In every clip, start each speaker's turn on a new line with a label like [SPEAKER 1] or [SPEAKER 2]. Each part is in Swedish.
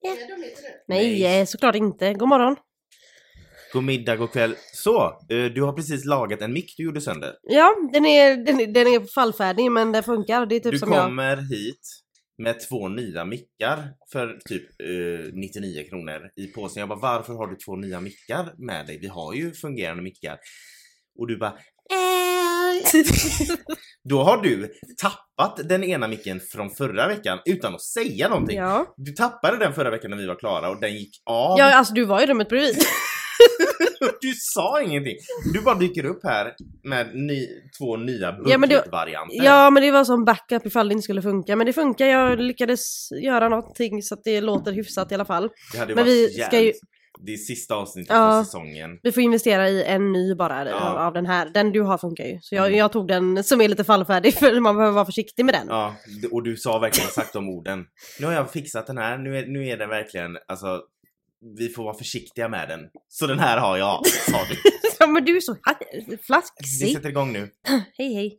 [SPEAKER 1] Ja. Är de inte det?
[SPEAKER 2] Nej, eh, såklart inte. God morgon.
[SPEAKER 3] God middag, god kväll. Så, eh, du har precis lagat en mick du gjorde sönder.
[SPEAKER 2] Ja, den är, den, är- den är fallfärdig men den funkar. Det är typ
[SPEAKER 3] du
[SPEAKER 2] som jag.
[SPEAKER 3] kommer hit med två nya mickar för typ eh, 99 kronor i påsen. Jag bara, varför har du två nya mickar med dig? Vi har ju fungerande mickar. Och du bara,
[SPEAKER 2] Eh.
[SPEAKER 3] då har du tappat den ena micken från förra veckan utan att säga någonting.
[SPEAKER 2] ja.
[SPEAKER 3] Du tappade den förra veckan när vi var klara och den gick av.
[SPEAKER 2] ja, alltså du var i rummet bredvid.
[SPEAKER 3] Du sa ingenting! Du bara dyker upp här med ny, två nya
[SPEAKER 2] Ja, men det-
[SPEAKER 3] budgetvarianter.
[SPEAKER 2] Ja, men det var som backup ifall det inte skulle funka. Men det funkar. Jag lyckades göra någonting så att det låter hyfsat i alla fall.
[SPEAKER 3] Det hade ju
[SPEAKER 2] Men
[SPEAKER 3] varit
[SPEAKER 2] vi ska ju-
[SPEAKER 3] jävligt- Det är sista avsnittet
[SPEAKER 2] Ja.
[SPEAKER 3] för säsongen.
[SPEAKER 2] Vi får investera i en ny bara eller,
[SPEAKER 3] Ja.
[SPEAKER 2] av, av den här. Den du har funkar ju. Så jag,
[SPEAKER 3] Mm.
[SPEAKER 2] jag tog den som är lite fallfärdig för man behöver vara försiktig med den.
[SPEAKER 3] Ja, d- och du sa verkligen exakt de orden. Nu har jag fixat den här, nu är, nu är den verkligen, alltså, vi får vara försiktiga med den. Så den här har jag, sa du.
[SPEAKER 2] Ja, men du är så
[SPEAKER 3] Vi
[SPEAKER 2] flaxig.
[SPEAKER 3] sätter igång nu.
[SPEAKER 2] Hej hej.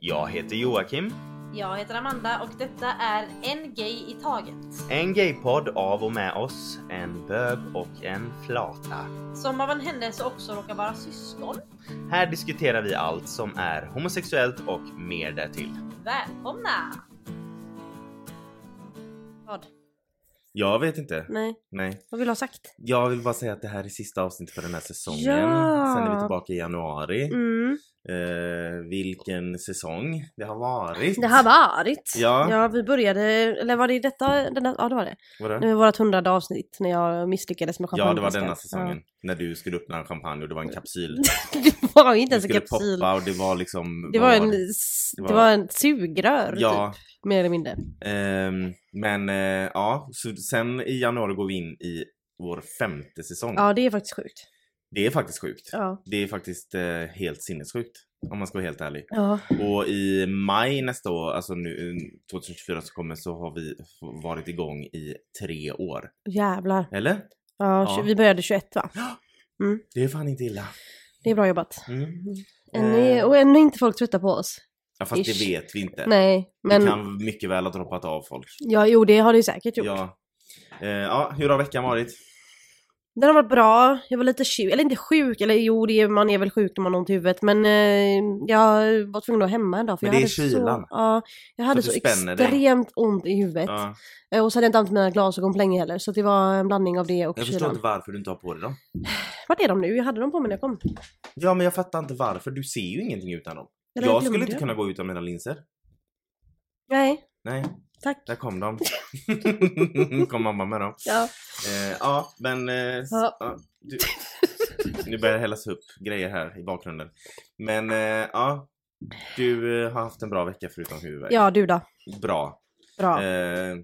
[SPEAKER 3] Jag heter Joakim,
[SPEAKER 2] Jag heter Amanda och detta är En Gay i Taget.
[SPEAKER 3] en gaypodd av och med oss, en bög och en flata.
[SPEAKER 2] Som av en händelse också råkar vara syskon.
[SPEAKER 3] Här diskuterar vi allt som är homosexuellt och mer därtill.
[SPEAKER 2] Välkomna! Vad?
[SPEAKER 3] Jag vet inte.
[SPEAKER 2] Nej,
[SPEAKER 3] Nej.
[SPEAKER 2] vad vill du ha sagt?
[SPEAKER 3] Jag vill bara säga att det här är sista avsnittet för den här säsongen.
[SPEAKER 2] Ja.
[SPEAKER 3] Sen är vi tillbaka i januari.
[SPEAKER 2] Mm.
[SPEAKER 3] Eh, vilken säsong det har varit.
[SPEAKER 2] Det har varit.
[SPEAKER 3] Ja.
[SPEAKER 2] ja, vi började, eller var det i detta, denna, ja det var det.
[SPEAKER 3] Vadå?
[SPEAKER 2] Det var vårt hundrade avsnitt när jag misslyckades med
[SPEAKER 3] Ja, det var
[SPEAKER 2] champagneflaskan.
[SPEAKER 3] denna säsongen. När du skulle öppna en champagne och det var en kapsyl.
[SPEAKER 2] Ja. Det var ju inte ens
[SPEAKER 3] Du
[SPEAKER 2] en
[SPEAKER 3] skulle
[SPEAKER 2] kapsyl.
[SPEAKER 3] poppa och det var liksom...
[SPEAKER 2] Det
[SPEAKER 3] vad
[SPEAKER 2] var en,
[SPEAKER 3] det?
[SPEAKER 2] s-
[SPEAKER 3] Det
[SPEAKER 2] det
[SPEAKER 3] var-
[SPEAKER 2] var en sugrör
[SPEAKER 3] Ja,
[SPEAKER 2] typ, mer eller mindre.
[SPEAKER 3] ehm, men eh, ja, så sen i januari går vi in i vår femte säsong.
[SPEAKER 2] Ja, det är faktiskt sjukt.
[SPEAKER 3] Det är faktiskt sjukt.
[SPEAKER 2] Ja.
[SPEAKER 3] Det är faktiskt eh, helt sinnessjukt. Om man ska vara helt ärlig.
[SPEAKER 2] Ja.
[SPEAKER 3] Och i maj nästa år, alltså nu 2024 som kommer, så har vi f- varit igång i tre år.
[SPEAKER 2] Jävlar.
[SPEAKER 3] Eller?
[SPEAKER 2] Ja,
[SPEAKER 3] Ja.
[SPEAKER 2] tju- Vi började 21 va?
[SPEAKER 3] Det är fan inte illa.
[SPEAKER 2] Det är bra jobbat.
[SPEAKER 3] Mm.
[SPEAKER 2] Ännu,
[SPEAKER 3] Eh,
[SPEAKER 2] och ännu är inte folk trötta på oss.
[SPEAKER 3] ja, fast det
[SPEAKER 2] ish.
[SPEAKER 3] vet vi inte.
[SPEAKER 2] Nej, men
[SPEAKER 3] Det kan mycket väl ha droppat av folk.
[SPEAKER 2] ja, jo det har det ju säkert gjort.
[SPEAKER 3] Ja. Eh, ja, hur har veckan varit?
[SPEAKER 2] Den har varit bra, jag var lite sjuk, eller inte sjuk, eller jo det är, man är väl sjuk när man har ont i huvudet men eh, jag var tvungen att vara hemma en dag för
[SPEAKER 3] Men
[SPEAKER 2] jag
[SPEAKER 3] det är
[SPEAKER 2] hade
[SPEAKER 3] kylan.
[SPEAKER 2] så, ja, jag hade
[SPEAKER 3] Så
[SPEAKER 2] så,
[SPEAKER 3] att du spänner dig.
[SPEAKER 2] extremt ont i huvudet.
[SPEAKER 3] Ja.
[SPEAKER 2] Eh, Och så hade jag inte använt mina glasögon på länge heller så det var en blandning av det och
[SPEAKER 3] Jag förstår
[SPEAKER 2] kylan.
[SPEAKER 3] inte varför du inte har på dig dem.
[SPEAKER 2] Vart är de nu? Jag hade dem på mig när jag kom.
[SPEAKER 3] Ja, men jag fattar inte varför. Du ser ju ingenting utan dem.
[SPEAKER 2] Eller
[SPEAKER 3] jag
[SPEAKER 2] glömde
[SPEAKER 3] skulle inte
[SPEAKER 2] dem.
[SPEAKER 3] kunna gå utan mina linser.
[SPEAKER 2] Nej,
[SPEAKER 3] Nej,
[SPEAKER 2] tack.
[SPEAKER 3] där kom de. kom mamma med dem.
[SPEAKER 2] Ja.
[SPEAKER 3] Eh, ja, men... Eh, s-
[SPEAKER 2] Ja.
[SPEAKER 3] ja, du... Nu börjar det hällas upp grejer här i bakgrunden. Men eh, ja, du eh, har haft en bra vecka förutom huvudvärk.
[SPEAKER 2] ja, du då?
[SPEAKER 3] Bra.
[SPEAKER 2] Bra.
[SPEAKER 3] Eh,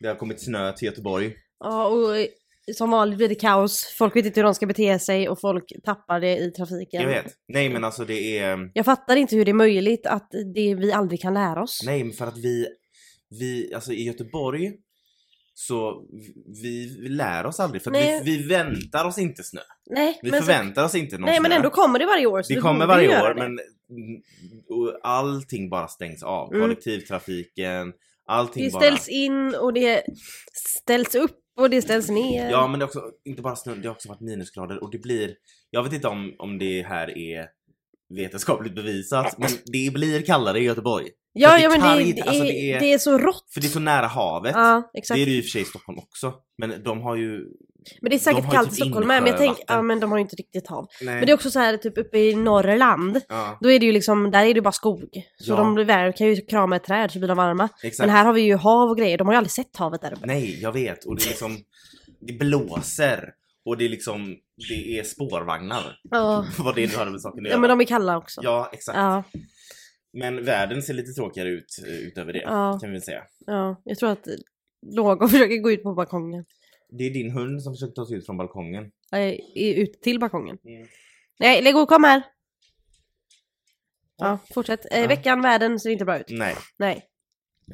[SPEAKER 3] det har kommit snö till Göteborg.
[SPEAKER 2] Ja, och eh, som vanligt blir det kaos. Folk vet inte hur de ska bete sig och folk tappar det i trafiken.
[SPEAKER 3] Jag vet. Nej men alltså det är...
[SPEAKER 2] Jag fattar inte hur det är möjligt att det vi aldrig kan lära oss.
[SPEAKER 3] Nej men för att vi... Vi, alltså i Göteborg så vi, vi lär oss aldrig för att vi,
[SPEAKER 2] Nej.
[SPEAKER 3] vi väntar oss inte snö.
[SPEAKER 2] Nej,
[SPEAKER 3] Vi
[SPEAKER 2] men, så,
[SPEAKER 3] förväntar oss inte någon
[SPEAKER 2] nej
[SPEAKER 3] snö.
[SPEAKER 2] men ändå kommer det varje år. Så
[SPEAKER 3] Det
[SPEAKER 2] vi
[SPEAKER 3] kommer
[SPEAKER 2] borde ju
[SPEAKER 3] varje
[SPEAKER 2] göra
[SPEAKER 3] år
[SPEAKER 2] det.
[SPEAKER 3] men och allting bara stängs av.
[SPEAKER 2] Mm.
[SPEAKER 3] Kollektivtrafiken, allting
[SPEAKER 2] Det
[SPEAKER 3] bara...
[SPEAKER 2] ställs in och det ställs upp och det ställs ner.
[SPEAKER 3] Ja men det har också, inte bara snö, det har också varit minusgrader och det blir... Jag vet inte om, om det här är vetenskapligt bevisat men det blir kallare i Göteborg.
[SPEAKER 2] ja,
[SPEAKER 3] fast det
[SPEAKER 2] ja, men det,
[SPEAKER 3] kan
[SPEAKER 2] är-
[SPEAKER 3] inte-
[SPEAKER 2] det,
[SPEAKER 3] alltså,
[SPEAKER 2] är,
[SPEAKER 3] det
[SPEAKER 2] det,
[SPEAKER 3] är-
[SPEAKER 2] är... så rått.
[SPEAKER 3] För det är så nära havet.
[SPEAKER 2] Ja,
[SPEAKER 3] Det
[SPEAKER 2] exakt.
[SPEAKER 3] är det ju i och för sig i Stockholm också. Men de har ju...
[SPEAKER 2] men det är
[SPEAKER 3] de
[SPEAKER 2] säkert
[SPEAKER 3] har ju
[SPEAKER 2] kallt i
[SPEAKER 3] typ
[SPEAKER 2] Stockholm med. Men jag tänker,
[SPEAKER 3] insjövatten.
[SPEAKER 2] ja men de har ju inte riktigt hav.
[SPEAKER 3] Nej.
[SPEAKER 2] Men det är också så här typ uppe i Norrland.
[SPEAKER 3] Ja,
[SPEAKER 2] Då är det ju liksom, där är det bara skog. Så
[SPEAKER 3] Ja.
[SPEAKER 2] de blir vär- kan ju krama ett träd så blir de varma.
[SPEAKER 3] exakt.
[SPEAKER 2] Men här har vi ju hav och grejer, de har ju aldrig sett havet där uppe.
[SPEAKER 3] Nej, jag vet. Och det är liksom... Det blåser. Och det är liksom... Det är spårvagnar.
[SPEAKER 2] Ja.
[SPEAKER 3] Vad det nu hade med saken att göra.
[SPEAKER 2] Ja men de är kalla också.
[SPEAKER 3] Ja, exakt.
[SPEAKER 2] Ja,
[SPEAKER 3] Men världen ser lite tråkigare ut eh, utöver det.
[SPEAKER 2] Ja.
[SPEAKER 3] Kan vi väl säga.
[SPEAKER 2] ja. Jag tror att någon försöker gå ut på balkongen.
[SPEAKER 3] Det är din hund som försöker ta sig ut från balkongen.
[SPEAKER 2] Nej, i- ut till balkongen.
[SPEAKER 3] Mm.
[SPEAKER 2] Nej, Lego kom här! Ja, fortsätt. Eh,
[SPEAKER 3] Ja. Mm.
[SPEAKER 2] Veckan, världen ser inte bra ut.
[SPEAKER 3] Nej.
[SPEAKER 2] Nej.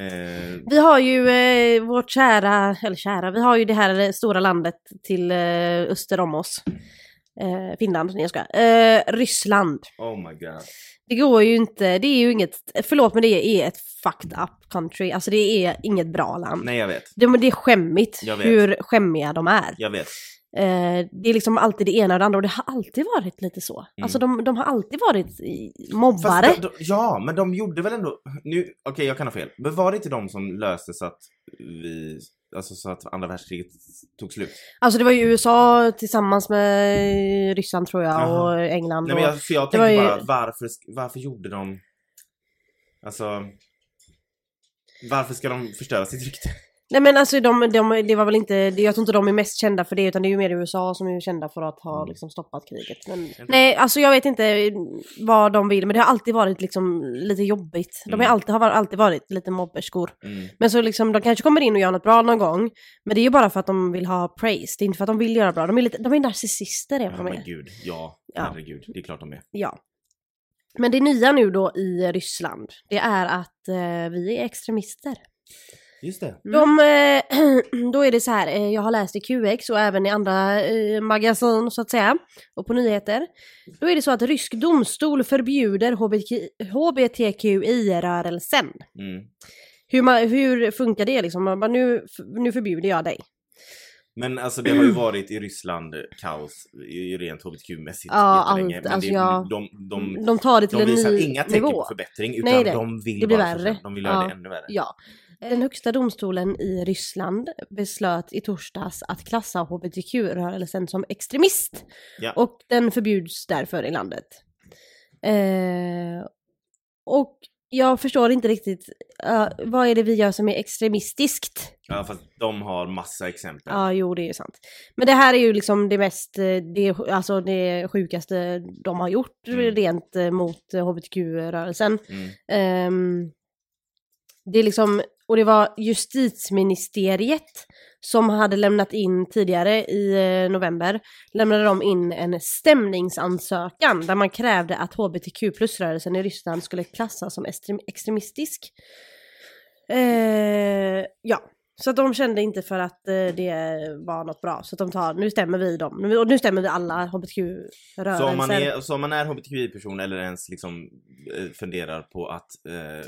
[SPEAKER 3] Eh,
[SPEAKER 2] Vi har ju eh, vårt kära, eller kära, vi har ju det här eh, stora landet till eh, öster om oss. Eh, Finland, nej jag ska. Eh, Ryssland.
[SPEAKER 3] Oh my god.
[SPEAKER 2] Det går ju inte, det är ju inget, förlåt men det är ett fucked up country. Alltså det är inget bra land.
[SPEAKER 3] Nej jag vet.
[SPEAKER 2] Det, men det är skämmigt
[SPEAKER 3] Jag vet.
[SPEAKER 2] hur skämmiga de är.
[SPEAKER 3] Jag vet.
[SPEAKER 2] Eh, det är liksom alltid det ena och det andra och det har alltid varit lite så.
[SPEAKER 3] Mm.
[SPEAKER 2] Alltså de, de har alltid varit i- mobbare.
[SPEAKER 3] de, de, ja, men de gjorde väl ändå... Nu, okej, jag kan ha fel. Men var det inte de som löste så att vi... Alltså så att andra världskriget tog slut?
[SPEAKER 2] Alltså det var ju USA tillsammans med Ryssland tror jag
[SPEAKER 3] Jaha.
[SPEAKER 2] och England.
[SPEAKER 3] Nej men
[SPEAKER 2] och-
[SPEAKER 3] jag, för jag
[SPEAKER 2] det
[SPEAKER 3] tänkte
[SPEAKER 2] var ju-
[SPEAKER 3] bara, varför, sk- varför gjorde de... Alltså... Varför ska de förstöra sitt rykte?
[SPEAKER 2] Nej men alltså de, de, det var väl inte, det- jag tror inte de är mest kända för det utan det är ju mer USA som är kända för att ha
[SPEAKER 3] Mm.
[SPEAKER 2] liksom stoppat kriget. Men, nej alltså jag vet inte vad de vill men det har alltid varit liksom lite jobbigt. De är
[SPEAKER 3] Mm.
[SPEAKER 2] alltid, har var- alltid varit lite mobberskor.
[SPEAKER 3] Mm.
[SPEAKER 2] Men så liksom de kanske kommer in och gör något bra någon gång men det är ju bara för att de vill ha praise, det är inte för att de vill göra bra. De är, lite, de är narcissister är vad
[SPEAKER 3] Ja,
[SPEAKER 2] de
[SPEAKER 3] men
[SPEAKER 2] är.
[SPEAKER 3] gud, ja.
[SPEAKER 2] Ja.
[SPEAKER 3] Herregud, det är klart de är.
[SPEAKER 2] Ja. Men det nya nu då i Ryssland det är att eh, vi är extremister.
[SPEAKER 3] Just det.
[SPEAKER 2] De, eh, då är det så här, eh, jag har läst i QX och även i andra eh, magasin så att säga, och på nyheter. Då är det så att rysk domstol förbjuder HBTQ hbtqi-rörelsen.
[SPEAKER 3] Mm.
[SPEAKER 2] Hur, man, hur funkar det liksom? Man bara, nu, nu förbjuder jag dig.
[SPEAKER 3] Men alltså det har ju varit i Ryssland kaos i- rent hbtq-mässigt
[SPEAKER 2] Ja,
[SPEAKER 3] jättelänge.
[SPEAKER 2] allt,
[SPEAKER 3] Men
[SPEAKER 2] alltså
[SPEAKER 3] det,
[SPEAKER 2] jag-
[SPEAKER 3] de, de,
[SPEAKER 2] Mm, De tar det till
[SPEAKER 3] de
[SPEAKER 2] en
[SPEAKER 3] visar
[SPEAKER 2] ny
[SPEAKER 3] inga tecken
[SPEAKER 2] nivå.
[SPEAKER 3] på förbättring utan
[SPEAKER 2] Nej, det-
[SPEAKER 3] de vill
[SPEAKER 2] det blir
[SPEAKER 3] bara försämra.
[SPEAKER 2] värre.
[SPEAKER 3] De vill göra
[SPEAKER 2] Ja.
[SPEAKER 3] det ännu värre.
[SPEAKER 2] Ja. Den högsta domstolen i Ryssland beslöt i torsdags att klassa hbtq-rörelsen som extremist.
[SPEAKER 3] Ja.
[SPEAKER 2] Och den förbjuds därför i landet. Eh, och jag förstår inte riktigt, eh, vad är det vi gör som är extremistiskt?
[SPEAKER 3] Ja, fast de har massa exempel.
[SPEAKER 2] Ja, jo det är ju sant. Men det här är ju liksom det mest, eh, det, alltså det sjukaste de har gjort
[SPEAKER 3] Mm.
[SPEAKER 2] rent eh, mot eh, hbtq-rörelsen.
[SPEAKER 3] Mm.
[SPEAKER 2] Ehm, det är liksom, och det var justitieministeriet som hade lämnat in tidigare i eh, november, lämnade de in en stämningsansökan där man krävde att hbtq plus-rörelsen i Ryssland skulle klassas som extrem- extremistisk. Eh, ja, så att de kände inte för att eh, det var något bra, så att de tar, nu stämmer vi dem, Nu- och nu stämmer vi alla hbtq-rörelser.
[SPEAKER 3] Så om, man är, så om man är hbtqi-person eller ens liksom eh, funderar på att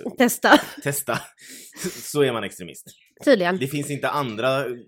[SPEAKER 3] eh,
[SPEAKER 2] Testa,
[SPEAKER 3] testa så är man extremist.
[SPEAKER 2] tydligen.
[SPEAKER 3] Det finns inte andra mm,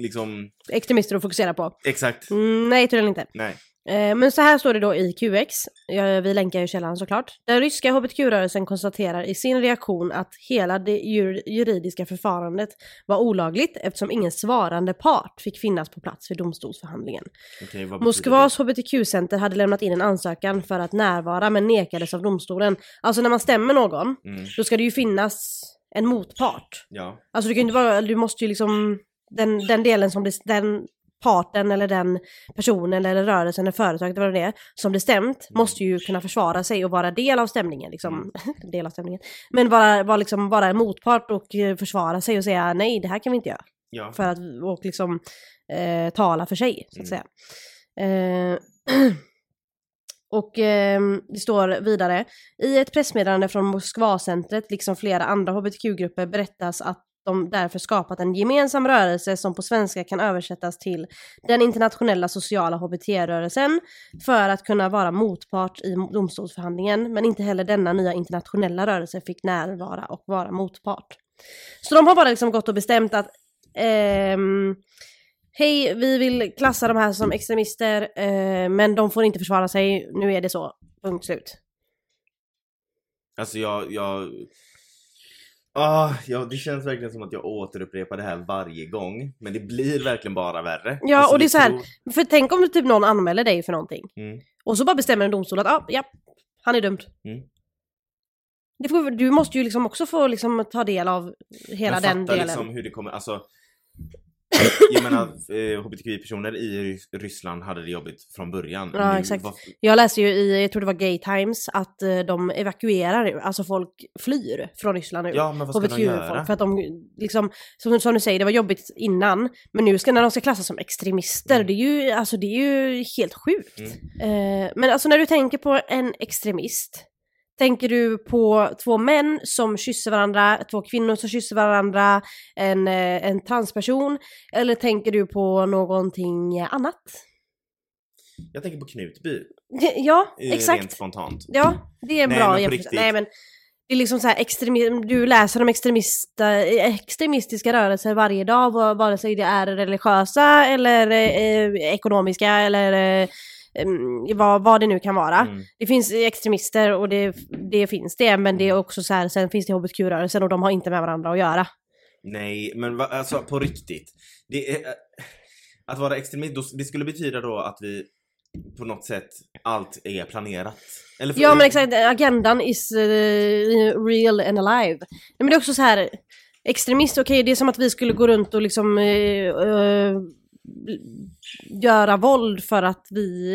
[SPEAKER 3] liksom
[SPEAKER 2] Extremister att fokusera på.
[SPEAKER 3] exakt.
[SPEAKER 2] Mm, nej, tydligen inte.
[SPEAKER 3] Nej.
[SPEAKER 2] Eh, Men så här står det då i QX, Ja, vi länkar ju källan såklart. Den ryska hbtq-rörelsen konstaterar i sin reaktion att hela det jur- juridiska förfarandet var olagligt eftersom ingen svarande part fick finnas på plats vid domstolsförhandlingen.
[SPEAKER 3] Okej, vad betyder
[SPEAKER 2] Moskvas hbtq-center hade lämnat in en ansökan för att närvara men nekades av domstolen. Alltså när man stämmer någon,
[SPEAKER 3] det? Mm,
[SPEAKER 2] då ska det ju finnas en motpart.
[SPEAKER 3] ja.
[SPEAKER 2] Alltså du kan ju inte vara, du måste ju liksom, den, den delen som det, den parten eller den personen eller rörelsen eller företaget eller vad det är som det stämt måste ju kunna försvara sig och vara del av stämningen liksom. del av stämningen. Men vara, vara liksom, vara en motpart och eh, försvara sig och säga nej det här kan vi inte göra.
[SPEAKER 3] ja.
[SPEAKER 2] För att, och liksom eh, tala för sig så att
[SPEAKER 3] Mm.
[SPEAKER 2] säga. Eh, och ehm, det står vidare, i ett pressmeddelande från Moskvacentret, liksom flera andra hbtq-grupper, berättas att de därför skapat en gemensam rörelse som på svenska kan översättas till den internationella sociala hbt-rörelsen för att kunna vara motpart i domstolsförhandlingen, men inte heller denna nya internationella rörelse fick närvara och vara motpart. Så de har bara liksom gått och bestämt att ehm, Hej, vi vill klassa de här som extremister, eh, men de får inte försvara sig. Nu är det så. Punkt slut.
[SPEAKER 3] Alltså jag, jag... Ah, ja, det känns verkligen som att jag återupprepar det här varje gång. Men det blir verkligen bara värre.
[SPEAKER 2] Ja,
[SPEAKER 3] alltså,
[SPEAKER 2] och det
[SPEAKER 3] vi
[SPEAKER 2] är så här-
[SPEAKER 3] tror-
[SPEAKER 2] För tänk om typ någon anmäler dig för någonting.
[SPEAKER 3] Mm.
[SPEAKER 2] Och så bara bestämmer en domstol att ah, ja, han är dömd.
[SPEAKER 3] Mm.
[SPEAKER 2] Det får, du måste ju liksom också få liksom ta del av hela
[SPEAKER 3] Men
[SPEAKER 2] den
[SPEAKER 3] fatta
[SPEAKER 2] delen.
[SPEAKER 3] liksom hur det kommer, alltså. Jag menar, eh, hbtqi-personer i Rys- Ryssland hade det jobbigt från början.
[SPEAKER 2] Ja, exakt.
[SPEAKER 3] vad-
[SPEAKER 2] Jag läste ju i, jag tror det var Gay Times, att eh, de evakuerar nu. Alltså folk flyr från Ryssland nu.
[SPEAKER 3] ja, men vad ska de göra?
[SPEAKER 2] hbtq-folk. För att de, liksom, som, som du säger, det var jobbigt innan. Men nu ska, när de ska klassas som extremister,
[SPEAKER 3] Mm.
[SPEAKER 2] det, är ju, alltså, det är ju helt sjukt.
[SPEAKER 3] Mm.
[SPEAKER 2] Eh, men alltså när du tänker på en extremist, tänker du på två män som kysser varandra, två kvinnor som kysser varandra, en, eh, en transperson? Eller tänker du på någonting annat?
[SPEAKER 3] Jag tänker på Knutby.
[SPEAKER 2] Ja,
[SPEAKER 3] eh, Rent
[SPEAKER 2] exakt.
[SPEAKER 3] spontant.
[SPEAKER 2] Ja, det är en
[SPEAKER 3] Nej, men
[SPEAKER 2] bra
[SPEAKER 3] på
[SPEAKER 2] jämförelse.
[SPEAKER 3] riktigt.
[SPEAKER 2] Nej men, det är liksom så här extremism, du läser om extremista, extremistiska rörelser varje dag, va- vare sig det är religiösa eller eh, ekonomiska eller eh, em, vad, vad det nu kan vara.
[SPEAKER 3] Mm.
[SPEAKER 2] Det finns extremister och det, det finns det, men
[SPEAKER 3] Mm.
[SPEAKER 2] det är också så här, sen finns det hbtq-rörelsen och de har inte med varandra att göra.
[SPEAKER 3] Nej, men va, alltså på riktigt. Det är, eh, att vara extremist, då, det skulle betyda då att vi på något sätt, allt är planerat. Eller för-
[SPEAKER 2] Ja men exakt, agendan is eh, real and alive. Nej, men det är också så här extremist, okej det är som att vi skulle gå runt och liksom eh, eh, göra våld för att vi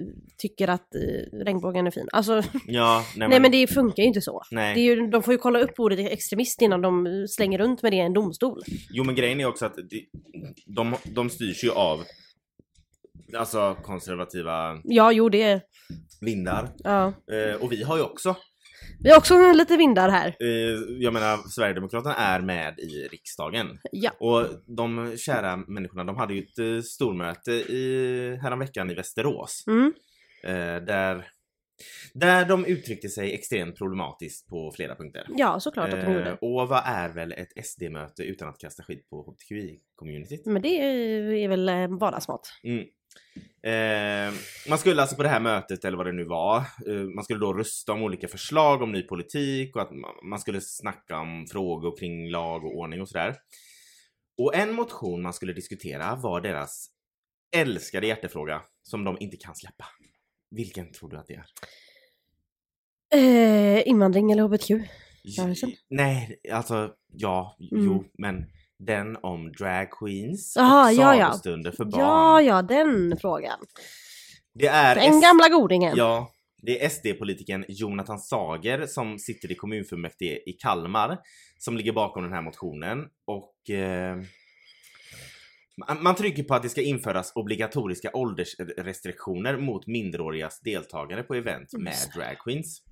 [SPEAKER 2] eh, tycker att eh, regnbågen är fin. Alltså, nej,
[SPEAKER 3] Ja, nej men,
[SPEAKER 2] men det funkar ju inte så.
[SPEAKER 3] nej.
[SPEAKER 2] Det är ju, de får ju kolla upp ordet extremist innan de slänger runt med det i en domstol.
[SPEAKER 3] Jo men grejen är också att de, de, de styrs ju av Alltså konservativa
[SPEAKER 2] Ja, jo det är...
[SPEAKER 3] vindar.
[SPEAKER 2] Ja.
[SPEAKER 3] Eh, och vi har ju också,
[SPEAKER 2] Vi har också lite vindar här.
[SPEAKER 3] eh, jag menar Sverigedemokraterna är med i riksdagen.
[SPEAKER 2] Ja.
[SPEAKER 3] Och de kära människorna, de hade ju ett eh, stormöte i, häromveckan i Västerås.
[SPEAKER 2] Mm.
[SPEAKER 3] Eh, där, där de uttryckte sig extremt problematiskt på flera punkter.
[SPEAKER 2] Ja, såklart att de
[SPEAKER 3] Eh,
[SPEAKER 2] gjorde.
[SPEAKER 3] och vad är väl ett SD-möte utan att kasta skit på HBTQI-communityt?
[SPEAKER 2] Men det är väl eh, vardagsmat.
[SPEAKER 3] Mm. Eh, man skulle alltså på det här mötet, eller vad det nu var, eh, man skulle då rösta om olika förslag om ny politik och att ma- man skulle snacka om frågor kring lag och ordning och sådär. Och en motion man skulle diskutera var deras älskade hjärtefråga som de inte kan släppa. Vilken tror du att det är?
[SPEAKER 2] Eh, invandring eller hbtq? Rörelsen?
[SPEAKER 3] J- Nej, alltså ja, j-
[SPEAKER 2] Mm.
[SPEAKER 3] jo, men den om drag queens
[SPEAKER 2] Aha,
[SPEAKER 3] och
[SPEAKER 2] ja, ja.
[SPEAKER 3] sagostunder för barn.
[SPEAKER 2] Ja, ja, den frågan.
[SPEAKER 3] Det är
[SPEAKER 2] Den
[SPEAKER 3] S-
[SPEAKER 2] gamla godingen.
[SPEAKER 3] Ja, det är SD-politikern Jonathan Sager som sitter i kommunfullmäktige i Kalmar som ligger bakom den här motionen och eh, man- man trycker på att det ska införas obligatoriska åldersrestriktioner mot minderårigas deltagande på event med
[SPEAKER 2] Just
[SPEAKER 3] drag queens.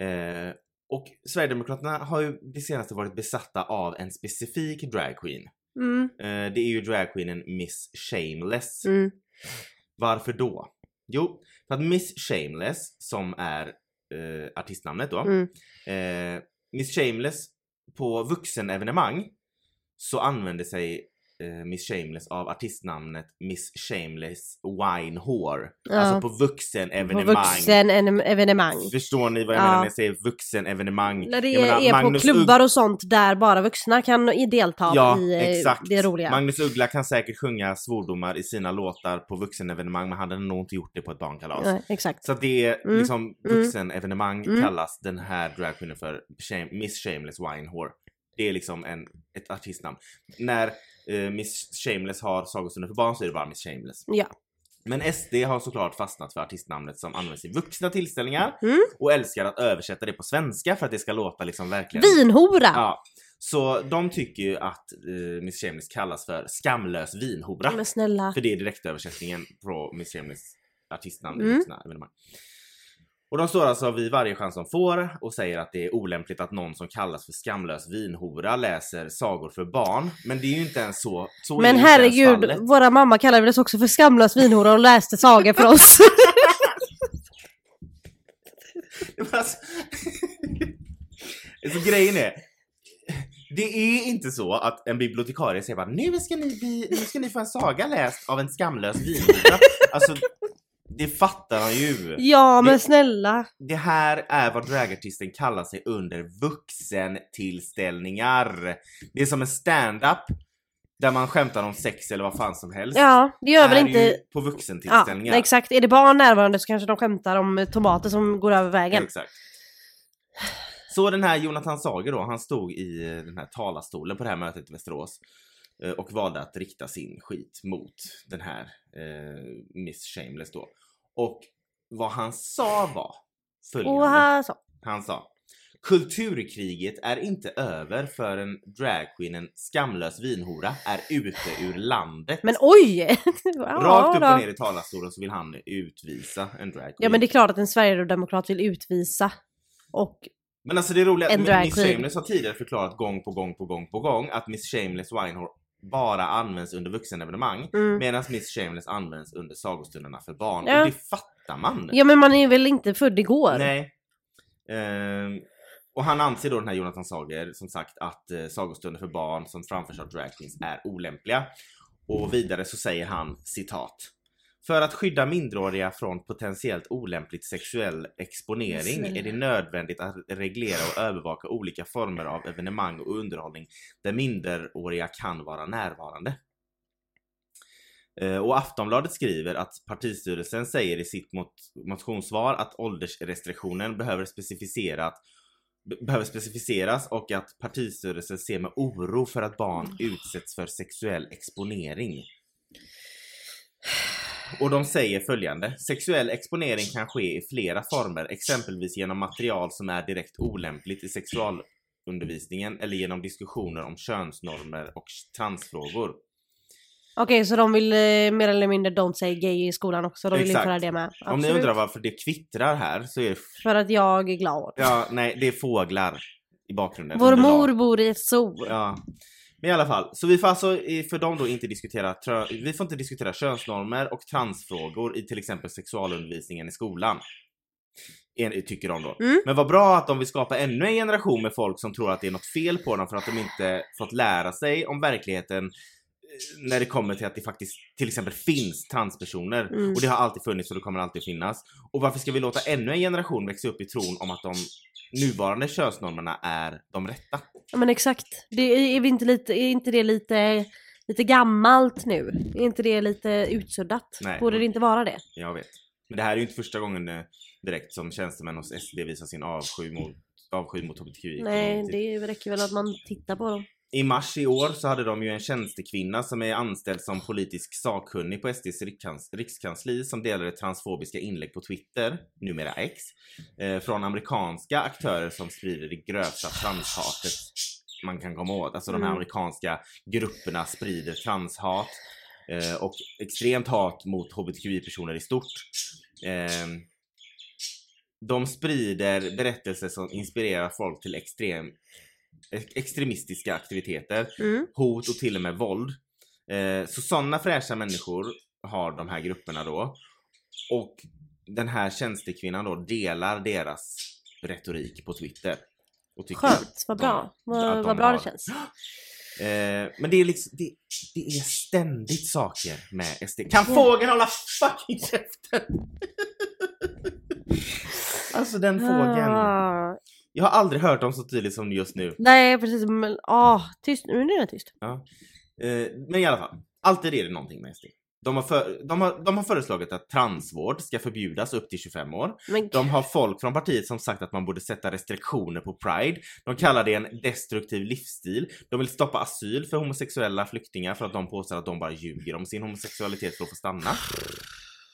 [SPEAKER 3] Eh, och Sverigedemokraterna har ju det senaste varit besatta av en specifik drag queen.
[SPEAKER 2] Mm,
[SPEAKER 3] Eh, det är ju dragqueenen Miss Shameless.
[SPEAKER 2] mm,
[SPEAKER 3] Varför då? Jo, för att Miss Shameless, som är eh, artistnamnet då,
[SPEAKER 2] mm.
[SPEAKER 3] eh, Miss Shameless på vuxenevenemang så använder sig eh, Miss Shameless av artistnamnet Miss Shameless Wine Whore.
[SPEAKER 2] Ja.
[SPEAKER 3] Alltså på
[SPEAKER 2] På
[SPEAKER 3] vuxenevenemang.
[SPEAKER 2] vuxen en- evenemang.
[SPEAKER 3] Förstår ni vad jag
[SPEAKER 2] Ja.
[SPEAKER 3] menar när jag säger vuxenevenemang?
[SPEAKER 2] När det
[SPEAKER 3] Jag menar,
[SPEAKER 2] är
[SPEAKER 3] Magnus
[SPEAKER 2] på klubbar och sånt där bara vuxna kan i- delta
[SPEAKER 3] Ja,
[SPEAKER 2] i eh,
[SPEAKER 3] exakt.
[SPEAKER 2] det roliga.
[SPEAKER 3] Magnus Uggla kan säkert sjunga svordomar i sina låtar på vuxenevenemang men han hade nog inte gjort det på ett barnkalas.
[SPEAKER 2] Nej, exakt.
[SPEAKER 3] Så att det är
[SPEAKER 2] Mm,
[SPEAKER 3] liksom vuxenevenemang
[SPEAKER 2] mm.
[SPEAKER 3] kallas den här dragqueenen för shame, Miss Shameless Wine Whore. Det är liksom en, ett artistnamn. När eh, Miss Shameless har sagostunder för barn så är det bara Miss Shameless.
[SPEAKER 2] Ja.
[SPEAKER 3] Men SD har såklart fastnat för artistnamnet som används i vuxna tillställningar
[SPEAKER 2] Mm.
[SPEAKER 3] och älskar att översätta det på svenska för att det ska låta liksom verkligen...
[SPEAKER 2] Vinhora!
[SPEAKER 3] Ja. Så de tycker ju att eh, Miss Shameless kallas för skamlös vinhora.
[SPEAKER 2] Men snälla.
[SPEAKER 3] För det är direktöversättningen på Miss Shameless artistnamn i
[SPEAKER 2] Mm.
[SPEAKER 3] vuxna evenemang. Och de står alltså vid varje chans de får och säger att det är olämpligt att någon som kallas för skamlös vinhora läser sagor för barn. Men det är ju inte ens så. så är
[SPEAKER 2] Men
[SPEAKER 3] ju inte ens
[SPEAKER 2] herregud,
[SPEAKER 3] fallet.
[SPEAKER 2] våra mamma kallade väl oss också för skamlös vinhora och läste sagor för oss.
[SPEAKER 3] Men alltså- så Alltså, grejen är. Det är inte så att en bibliotekarie säger bara nu ska ni, bli, nu ska ni få en saga läst av en skamlös vinhora. alltså, det fattar han ju.
[SPEAKER 2] ja, men
[SPEAKER 3] Det-
[SPEAKER 2] snälla.
[SPEAKER 3] Det här är vad dragartisten kallar sig under vuxentillställningar. Det är som en stand-up där man skämtar om sex eller vad fan som helst.
[SPEAKER 2] Ja, det gör
[SPEAKER 3] Är
[SPEAKER 2] väl
[SPEAKER 3] ju
[SPEAKER 2] inte...
[SPEAKER 3] på
[SPEAKER 2] Ja,
[SPEAKER 3] vuxentillställningar.
[SPEAKER 2] nej, exakt. Är det barn närvarande så kanske de skämtar om eh, tomater som går över vägen.
[SPEAKER 3] Exakt. Så den här Jonathan Sager då, han stod i eh, den här talarstolen på det här mötet i Västerås eh, och valde att rikta sin skit mot den här eh, Miss Shameless då. Och vad han sa var följande.
[SPEAKER 2] Och här så.
[SPEAKER 3] Han sa Kulturkriget är inte över förrän dragqueenen skamlös vinhora är ute ur landet.
[SPEAKER 2] Men oj! Ja,
[SPEAKER 3] Rakt upp
[SPEAKER 2] då.
[SPEAKER 3] och ner i talarstolen så vill han utvisa en dragqueen.
[SPEAKER 2] Ja men det är klart att en sverigedemokrat vill utvisa. Och
[SPEAKER 3] Men alltså det roliga,
[SPEAKER 2] En
[SPEAKER 3] Miss
[SPEAKER 2] dragqueen.
[SPEAKER 3] Shameless har tidigare förklarat gång på gång på gång på gång att Miss Shameless Winehore bara används under vuxenevenemang
[SPEAKER 2] Mm.
[SPEAKER 3] medan Miss Shameless används under sagostunderna för barn.
[SPEAKER 2] Ja.
[SPEAKER 3] Och det fattar man.
[SPEAKER 2] Ja men man är väl inte född igår?
[SPEAKER 3] Nej. Ehm, och han anser då den här Jonathan Sager som sagt att eh, sagostunder för barn som framförs av dragqueens är olämpliga. Och vidare så säger han citat. För att skydda minderåriga från potentiellt olämpligt sexuell exponering är det nödvändigt att reglera och övervaka olika former av evenemang och underhållning där minderåriga kan vara närvarande. Eh, Och Aftonbladet skriver att partistyrelsen säger i sitt mot- motionssvar att åldersrestriktionen behöver, specificerat, be- behöver specificeras och att partistyrelsen ser med oro för att barn utsätts för sexuell exponering. Och de säger följande. Sexuell exponering kan ske i flera former, exempelvis genom material som är direkt olämpligt i sexualundervisningen eller genom diskussioner om könsnormer och transfrågor.
[SPEAKER 2] Okej så de vill eh, mer eller mindre don't say gay i skolan också, de vill
[SPEAKER 3] Exakt.
[SPEAKER 2] införa det med.
[SPEAKER 3] Om ni
[SPEAKER 2] Absolut.
[SPEAKER 3] undrar varför det kvittrar här så är det
[SPEAKER 2] För att jag är glad.
[SPEAKER 3] Ja, nej, det är fåglar i bakgrunden.
[SPEAKER 2] Vår
[SPEAKER 3] Underlag.
[SPEAKER 2] mor bor i ett zoo.
[SPEAKER 3] Ja. Men i alla fall, så vi får alltså i- för dem då inte diskutera, trö- vi får inte diskutera könsnormer och transfrågor i till exempel sexualundervisningen i skolan. En, tycker de då.
[SPEAKER 2] Mm.
[SPEAKER 3] Men vad bra att de vill skapa ännu en generation med folk som tror att det är något fel på dem för att de inte fått lära sig om verkligheten eh, när det kommer till att det faktiskt till exempel finns transpersoner.
[SPEAKER 2] Mm.
[SPEAKER 3] Och det har alltid funnits och det kommer alltid finnas. Och varför ska vi låta ännu en generation växa upp i tron om att de nuvarande könsnormerna är de rätta?
[SPEAKER 2] Ja men exakt. Det är, är, vi inte lite, är inte det lite, lite gammalt nu? Är inte det lite utsuddat?
[SPEAKER 3] Nej.
[SPEAKER 2] Borde det inte vara det?
[SPEAKER 3] Jag vet. Men det här är ju inte första gången eh, direkt som tjänstemän hos SD visar sin avsky mot, avsky mot hbtqi.
[SPEAKER 2] Nej, det räcker väl att man tittar på dem.
[SPEAKER 3] I mars i år så hade de ju en tjänstekvinna som är anställd som politisk sakkunnig på SDs rikskans- rikskansli som delade transfobiska inlägg på Twitter, numera X, eh, från amerikanska aktörer som sprider det grövsta transhatet man kan komma åt. Alltså de här
[SPEAKER 2] Mm.
[SPEAKER 3] amerikanska grupperna sprider transhat eh, och extremt hat mot hbtqi-personer i stort. Ehm, de sprider berättelser som inspirerar folk till extrem, ex- extremistiska aktiviteter,
[SPEAKER 2] Mm.
[SPEAKER 3] hot och till och med våld. Eh, så sådana fräscha människor har de här grupperna då. Och den här tjänstekvinnan då delar deras retorik på Twitter. Och tycker-
[SPEAKER 2] Skönt, vad bra.
[SPEAKER 3] de- att
[SPEAKER 2] Vad,
[SPEAKER 3] de
[SPEAKER 2] vad bra
[SPEAKER 3] har-
[SPEAKER 2] det känns.
[SPEAKER 3] Eh, men det är liksom, det, det är ständigt saker med SD. Kan
[SPEAKER 2] Mm.
[SPEAKER 3] fågeln hålla fucking käften? alltså den fågeln.
[SPEAKER 2] Ah.
[SPEAKER 3] Jag har aldrig hört dem så tydligt som just nu.
[SPEAKER 2] Nej precis, men ah, tyst. Nu är det tyst.
[SPEAKER 3] Eh, men i alla fall, alltid är det någonting med SD. De har, för, de, har, de har föreslagit att transvård ska förbjudas upp till 25 år.
[SPEAKER 2] Men
[SPEAKER 3] De har folk från partiet som sagt att man borde sätta restriktioner på Pride. De kallar det en destruktiv livsstil. De vill stoppa asyl för homosexuella flyktingar för att de påstår att de bara ljuger om sin homosexualitet för att få stanna.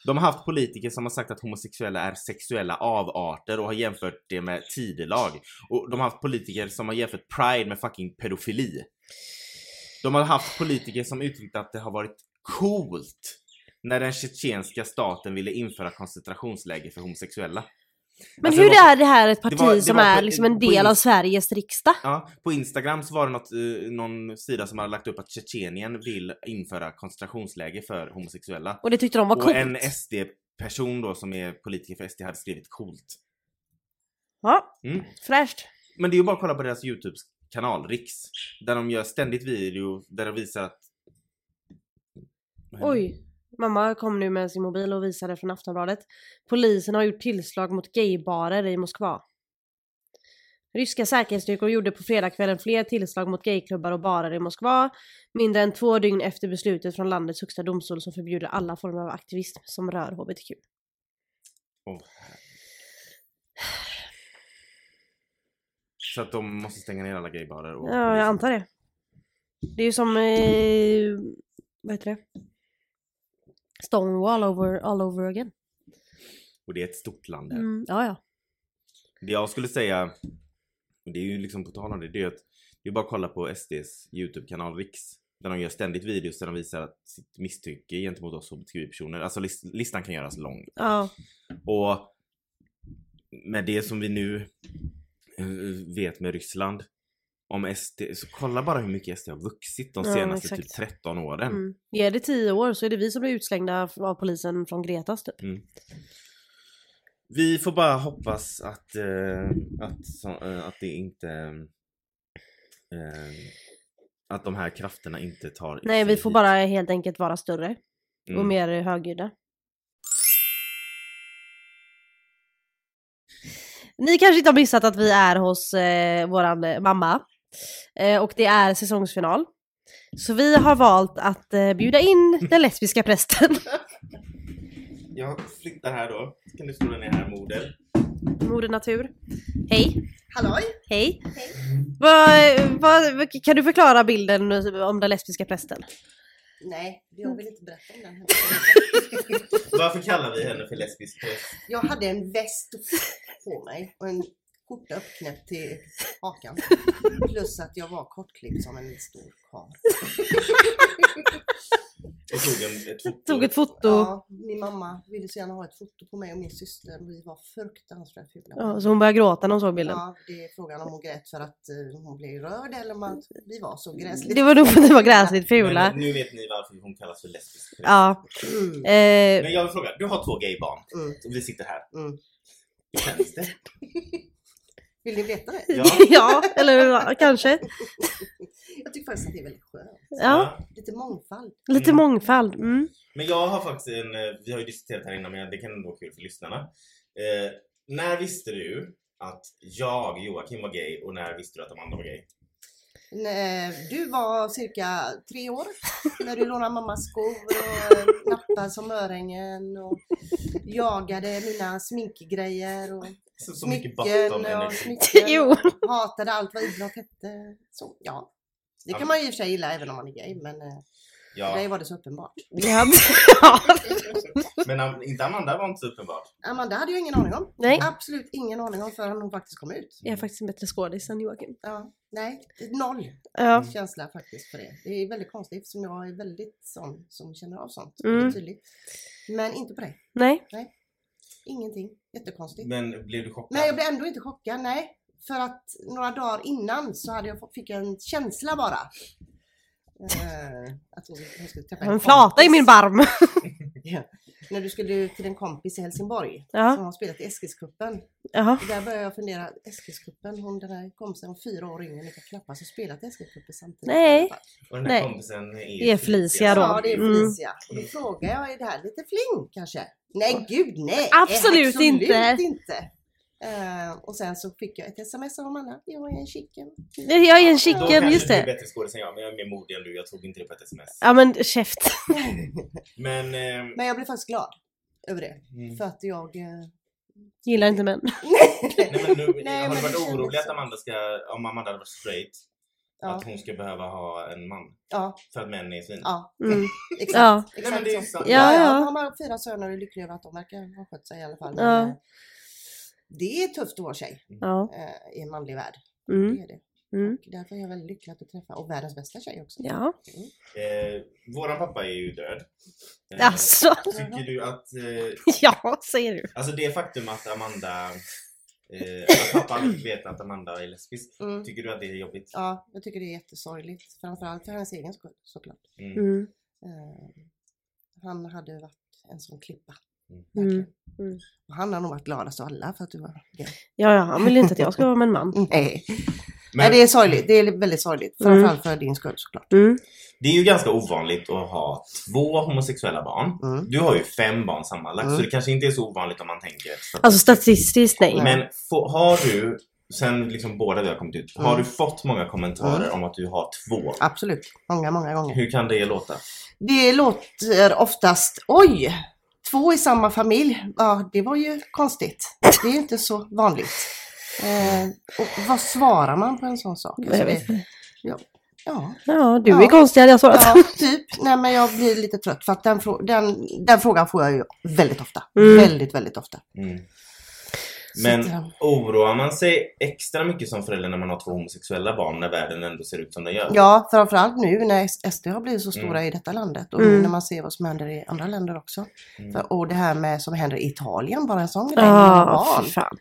[SPEAKER 3] De har haft politiker som har sagt att homosexuella är sexuella avarter och har jämfört det med tidelag. Och de har haft politiker som har jämfört Pride med fucking pedofili. De har haft politiker som uttryckt att det har varit coolt när den tjetjenska staten ville införa koncentrationsläger för homosexuella.
[SPEAKER 2] Men
[SPEAKER 3] Alltså,
[SPEAKER 2] hur
[SPEAKER 3] det var-
[SPEAKER 2] är det här ett parti
[SPEAKER 3] det var- det
[SPEAKER 2] som
[SPEAKER 3] var
[SPEAKER 2] är
[SPEAKER 3] på-
[SPEAKER 2] liksom en
[SPEAKER 3] på
[SPEAKER 2] del av
[SPEAKER 3] ins-
[SPEAKER 2] Sveriges riksdag?
[SPEAKER 3] Ja, på Instagram så var det något, eh, någon sida som hade lagt upp att Tjetjenien vill införa koncentrationsläger för homosexuella.
[SPEAKER 2] Och det tyckte de var
[SPEAKER 3] Och
[SPEAKER 2] coolt.
[SPEAKER 3] en SD-person då som är politiker för SD hade skrivit coolt.
[SPEAKER 2] Ja,
[SPEAKER 3] Mm.
[SPEAKER 2] fräscht.
[SPEAKER 3] Men det är ju bara att kolla på deras YouTube-kanal, Riks. Där de gör ständigt video där de visar att... Vad händer?
[SPEAKER 2] Oj. Mamma kom nu med sin mobil och visade från Aftonbladet. Polisen har gjort tillslag mot gaybarer i Moskva. Ryska säkerhetsstyrkor gjorde på fredagskvällen fler tillslag mot gayklubbar och barer i Moskva mindre än två dygn efter beslutet från landets högsta domstol som förbjuder alla former av aktivism som rör hbtq.
[SPEAKER 3] Åh, herregud. Så att de måste stänga ner alla gaybarer och...
[SPEAKER 2] Ja, jag antar det. Det är ju som, eh, vad heter det? Stonewall over, all over again.
[SPEAKER 3] Och det är ett stort land här.
[SPEAKER 2] Mm, ja, ja.
[SPEAKER 3] Det jag skulle säga, och det är ju liksom på tal om det, det är att det är bara att kolla på SDs YouTube-kanal Riks. Där de gör ständigt videos där de visar att sitt misstycke gentemot oss hbtqi-personer. Alltså lis- listan kan göras lång.
[SPEAKER 2] ja.
[SPEAKER 3] Och med det som vi nu eh, vet med Ryssland om SD. Så kolla bara hur mycket SD har vuxit de
[SPEAKER 2] Ja,
[SPEAKER 3] senaste
[SPEAKER 2] exakt.
[SPEAKER 3] typ 13 åren.
[SPEAKER 2] Mm. Ge det tio år så är det vi som blir utslängda av polisen från Gretas typ.
[SPEAKER 3] Vi får bara hoppas att, eh, att, så- eh, att det inte... Eh, att de här krafterna inte tar...
[SPEAKER 2] Nej,
[SPEAKER 3] sig
[SPEAKER 2] vi får
[SPEAKER 3] hit.
[SPEAKER 2] bara helt enkelt vara större och
[SPEAKER 3] Mm.
[SPEAKER 2] mer högljudda. Ni kanske inte har missat att vi är hos eh, våran eh, mamma. Eh, och det är säsongsfinal. Så vi har valt att eh, bjuda in den lesbiska prästen.
[SPEAKER 3] Jag flyttar här då. Kan du slå ner här moder?
[SPEAKER 2] Moder Natur. Hej.
[SPEAKER 1] Halloj!
[SPEAKER 2] Hej. Vad- vad- vad- kan du förklara bilden om den lesbiska prästen?
[SPEAKER 1] Nej, jag
[SPEAKER 2] Mm.
[SPEAKER 1] vill inte berätta om den.
[SPEAKER 3] Varför kallar vi henne för lesbisk präst?
[SPEAKER 1] Jag hade en väst på mig och en skjorta uppknäppt till hakan. Plus att jag var kortklippt som en stor karl.
[SPEAKER 3] Och tog en, eh, ett foto.
[SPEAKER 2] Tog ett foto. Ja.
[SPEAKER 1] Ja, min mamma ville så gärna ha ett foto på mig och min syster. Vi var fruktansvärt fula.
[SPEAKER 2] så hon började gråta när hon såg bilden.
[SPEAKER 1] Ja, det är frågan om hon grät för att eh, hon blev rörd eller om att vi var så gräsligt
[SPEAKER 2] Det var nog för att ni var gräsligt fula.
[SPEAKER 3] Men nu vet ni varför hon kallas för lesbisk präst.
[SPEAKER 2] Ja.
[SPEAKER 1] Mm,
[SPEAKER 2] Eh,
[SPEAKER 3] Men jag vill fråga, du har två gaybarn.
[SPEAKER 1] mm,
[SPEAKER 3] Och vi sitter här.
[SPEAKER 1] mm.
[SPEAKER 3] Hur känns det?
[SPEAKER 1] Vill ni veta det?
[SPEAKER 3] Ja.
[SPEAKER 2] ja, eller ja, kanske.
[SPEAKER 1] Jag tycker faktiskt att det är väldigt skönt.
[SPEAKER 2] Ja,
[SPEAKER 1] Lite mångfald.
[SPEAKER 2] lite
[SPEAKER 3] Mm.
[SPEAKER 2] mångfald. Mm.
[SPEAKER 3] Men jag har faktiskt en, eh, vi har ju diskuterat här innan men det kan ändå vara kul för lyssnarna. Eh, när visste du att jag, Joakim, var gay och när visste du att Amanda var gay?
[SPEAKER 1] När du var cirka tre år när du lånade mammas skor och nappade som örhängen och jagade mina sminkgrejer och
[SPEAKER 3] Alltså, Så, så mycket
[SPEAKER 1] smycken
[SPEAKER 3] bottom
[SPEAKER 1] och
[SPEAKER 3] energy.
[SPEAKER 1] smycken.
[SPEAKER 2] Jo.
[SPEAKER 1] Hatade allt vad idrott hette. Så, ja. Det
[SPEAKER 3] Ja.
[SPEAKER 1] kan man ju i och för sig gilla även om man är gay men eh, för dig
[SPEAKER 3] Ja,
[SPEAKER 1] var det så uppenbart.
[SPEAKER 2] Ja. Ja.
[SPEAKER 3] men Am- inte Amanda var inte så uppenbart.
[SPEAKER 1] Amanda hade jag ingen aning om.
[SPEAKER 2] Nej,
[SPEAKER 1] Absolut ingen aning om förrän hon faktiskt kom ut.
[SPEAKER 2] jag är faktiskt en bättre skådis än Joakim.
[SPEAKER 1] Ja, nej, noll
[SPEAKER 3] Mm.
[SPEAKER 2] Ja.
[SPEAKER 1] känsla faktiskt för det. Det är väldigt konstigt som jag är väldigt sån som känner av sånt.
[SPEAKER 2] Mm.
[SPEAKER 1] väldigt Tydligt. Men inte på dig.
[SPEAKER 2] Nej.
[SPEAKER 1] Ingenting. Jättekonstigt.
[SPEAKER 3] Men blev du chockad?
[SPEAKER 1] Men jag blev ändå inte chockad, nej. För att några dagar innan så hade jag fått, fick jag en känsla bara. Eh, att hon, hon skulle träffa
[SPEAKER 2] En flata i min barm.
[SPEAKER 1] När du skulle till en kompis i Helsingborg
[SPEAKER 2] Ja.
[SPEAKER 1] som har spelat i Eskilscupen.
[SPEAKER 2] Jaha.
[SPEAKER 1] Och Där började jag fundera, Eskilscupen, hon den här kompisen om fyra år yngre, ni kan knappast ha spelat i Eskilscupen samtidigt.
[SPEAKER 2] Nej.
[SPEAKER 3] och den
[SPEAKER 2] nej.
[SPEAKER 3] här kompisen är,
[SPEAKER 2] Är Felicia då.
[SPEAKER 1] Ja, det är
[SPEAKER 2] Mm.
[SPEAKER 1] Felicia. Och då frågar jag, är det här lite fling kanske? Nej, gud nej!
[SPEAKER 2] Absolut inte.
[SPEAKER 1] inte. Eh, och sen så fick jag ett sms av Amanda, jag är en chicken.
[SPEAKER 2] Jag är en
[SPEAKER 3] Då
[SPEAKER 2] chicken,
[SPEAKER 3] kanske
[SPEAKER 2] just
[SPEAKER 3] du är
[SPEAKER 2] det.
[SPEAKER 3] bättre skådis än jag, men jag är mer modig än du. Jag tog inte det på ett sms.
[SPEAKER 2] Ja men käft.
[SPEAKER 3] Men... ehm,
[SPEAKER 1] Men jag blev faktiskt glad över det.
[SPEAKER 3] mm.
[SPEAKER 1] För att jag... eh,
[SPEAKER 2] Gillar inte män.
[SPEAKER 3] Nej, men nu,
[SPEAKER 1] Nej,
[SPEAKER 3] har du
[SPEAKER 1] men
[SPEAKER 3] varit
[SPEAKER 1] det kändes
[SPEAKER 3] orolig att
[SPEAKER 1] så.
[SPEAKER 3] Amanda ska, om Amanda hade varit straight,
[SPEAKER 1] ja,
[SPEAKER 3] att hon ska behöva ha en man?
[SPEAKER 1] ja,
[SPEAKER 3] För att män är svin?
[SPEAKER 1] ja,
[SPEAKER 2] Mm.
[SPEAKER 1] exakt.
[SPEAKER 2] Ja.
[SPEAKER 3] Nej, men
[SPEAKER 1] exakt
[SPEAKER 3] det är
[SPEAKER 1] så.
[SPEAKER 3] sant.
[SPEAKER 2] Ja, ja.
[SPEAKER 1] Har man fyra söner och är lycklig över att de verkar ha skött sig i alla fall. Men,
[SPEAKER 2] Ja.
[SPEAKER 1] eh, Det är tufft att vara tjej
[SPEAKER 2] Ja.
[SPEAKER 1] eh, i en manlig värld.
[SPEAKER 2] Mm.
[SPEAKER 1] Det är det.
[SPEAKER 2] Mm.
[SPEAKER 1] Och därför är jag väldigt lycklig att få träffa, och världens bästa tjej också.
[SPEAKER 2] Ja.
[SPEAKER 3] Eh, våran pappa är ju död. Eh,
[SPEAKER 2] Alltså.
[SPEAKER 3] Tycker du att, eh,
[SPEAKER 2] Ja, säger du.
[SPEAKER 3] alltså det faktum att Amanda, eh, att pappa aldrig vet att Amanda är lesbisk,
[SPEAKER 1] Mm.
[SPEAKER 3] tycker du att det är jobbigt?
[SPEAKER 1] Ja, jag tycker det är jättesorgligt. Framförallt för hennes egen skull såklart.
[SPEAKER 3] Mm.
[SPEAKER 2] Mm.
[SPEAKER 1] Eh, han hade varit en sån klippa.
[SPEAKER 3] Mm.
[SPEAKER 1] Verkligen.
[SPEAKER 2] Mm.
[SPEAKER 1] Och han har nog varit gladast av alla för att du var gay.
[SPEAKER 2] Ja, ja, han vill ju inte att jag ska vara med en man.
[SPEAKER 1] Nej. Nej,
[SPEAKER 3] Men
[SPEAKER 1] det är sorgligt. Det är väldigt sorgligt.
[SPEAKER 2] Mm.
[SPEAKER 1] Framförallt för din skull såklart.
[SPEAKER 2] Mm.
[SPEAKER 3] det är ju ganska ovanligt att ha två homosexuella barn.
[SPEAKER 1] Mm.
[SPEAKER 3] Du har ju fem barn sammanlagt,
[SPEAKER 1] Mm.
[SPEAKER 3] så det kanske inte är så ovanligt om man tänker.
[SPEAKER 2] Alltså statistiskt nej.
[SPEAKER 3] Men få, har du, sen liksom båda vi har kommit ut, har
[SPEAKER 1] Mm.
[SPEAKER 3] du fått många kommentarer
[SPEAKER 1] Mm.
[SPEAKER 3] om att du har två?
[SPEAKER 1] Absolut. Många, många gånger.
[SPEAKER 3] Hur kan det låta?
[SPEAKER 1] Det låter oftast, oj! Två i samma familj, ja det var ju konstigt. Det är ju inte så vanligt. Eh, och vad svarar man på en sån sak? Alltså,
[SPEAKER 2] Jag vet
[SPEAKER 1] det, ja, ja,
[SPEAKER 2] Ja, du är
[SPEAKER 1] Ja.
[SPEAKER 2] konstig hade jag svarat.
[SPEAKER 1] Ja, typ. Nej, men jag blir lite trött för att den, frå- den, den frågan får jag ju väldigt ofta.
[SPEAKER 2] Mm.
[SPEAKER 1] Väldigt, väldigt ofta.
[SPEAKER 3] Mm.
[SPEAKER 1] Så
[SPEAKER 3] Men
[SPEAKER 1] att, eh,
[SPEAKER 3] oroar man sig extra mycket som förälder när man har två homosexuella barn när världen ändå ser ut som den gör?
[SPEAKER 1] Ja, framförallt nu när S- SD har blivit så stora i detta landet och nu
[SPEAKER 2] Mm.
[SPEAKER 1] när man ser vad som händer i andra länder också.
[SPEAKER 3] Mm.
[SPEAKER 1] För, och det här med som händer i Italien, bara en sån grej. med
[SPEAKER 2] Ja,
[SPEAKER 1] barn.
[SPEAKER 2] fy Ah, fan.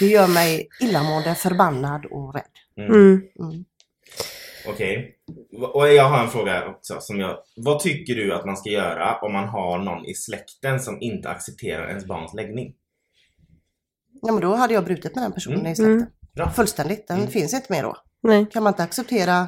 [SPEAKER 1] Det gör mig illamående, förbannad och rädd.
[SPEAKER 3] Mm.
[SPEAKER 2] Mm.
[SPEAKER 1] Mm.
[SPEAKER 3] Okej. Och jag har en fråga också. Som jag, vad tycker du att man ska göra om man har någon i släkten som inte accepterar ens barns läggning?
[SPEAKER 1] Ja, men då hade jag brutit med den personen
[SPEAKER 3] Mm.
[SPEAKER 1] i släkten.
[SPEAKER 2] Mm.
[SPEAKER 3] Bra.
[SPEAKER 1] Fullständigt, den
[SPEAKER 3] Mm.
[SPEAKER 1] finns inte mer då.
[SPEAKER 2] Nej.
[SPEAKER 1] Kan man inte acceptera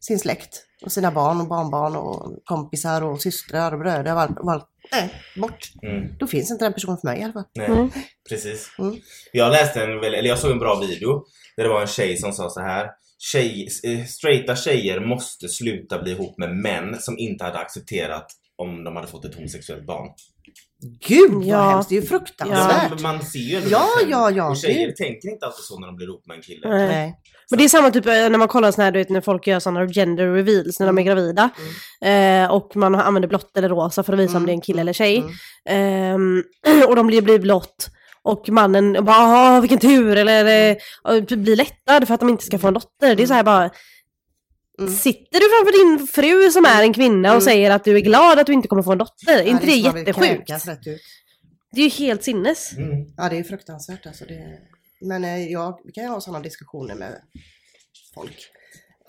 [SPEAKER 1] sin släkt och sina barn och barnbarn och kompisar och systrar och bröder och allt. och allt. Nej, bort.
[SPEAKER 3] Mm,
[SPEAKER 1] Då finns inte den personen för mig i alla fall.
[SPEAKER 3] nej,
[SPEAKER 2] Mm.
[SPEAKER 3] precis.
[SPEAKER 1] Mm.
[SPEAKER 3] Jag läste en, väl- eller jag såg en bra video där det var en tjej som sa så här. Tjej, eh, straighta tjejer måste sluta bli ihop med män som inte hade accepterat om de hade fått ett homosexuellt barn.
[SPEAKER 1] Gud vad
[SPEAKER 2] Ja.
[SPEAKER 1] hemskt, det är ju
[SPEAKER 3] Ja.
[SPEAKER 1] fruktansvärt.
[SPEAKER 3] men Man ser ju ändå
[SPEAKER 1] Ja,
[SPEAKER 3] det sen.
[SPEAKER 1] ja, ja,
[SPEAKER 3] Och tjejer
[SPEAKER 1] gud.
[SPEAKER 3] tänker inte alltid så när de blir ihop med en kille.
[SPEAKER 2] Nej.
[SPEAKER 1] Nej.
[SPEAKER 2] Men det är samma typ eh, när man kollar såna här, du vet, när folk gör sådana gender reveals när
[SPEAKER 1] Mm.
[SPEAKER 2] de är gravida. Eh, och man har- använder blått eller rosa för att visa om
[SPEAKER 1] Mm,
[SPEAKER 2] det är en kille eller tjej.
[SPEAKER 1] mm.
[SPEAKER 2] Ehm, och de blir, blir blått. Och mannen bara, "Aha, vilken tur, eller eh, och typ blir lättad för att de inte ska få en dotter. Det är så här bara,
[SPEAKER 1] Mm.
[SPEAKER 2] sitter du framför din fru som är en kvinna och
[SPEAKER 1] Mm.
[SPEAKER 2] säger att du är glad att du inte kommer få en dotter? är inte det,
[SPEAKER 1] som man vill
[SPEAKER 2] jättesjukt?
[SPEAKER 1] kräkas rätt ut.
[SPEAKER 2] Det är ju helt sinnes.
[SPEAKER 3] Mm.
[SPEAKER 1] Ja, det är fruktansvärt alltså. Det... Men eh, jag vi kan ju ha sådana diskussioner med folk.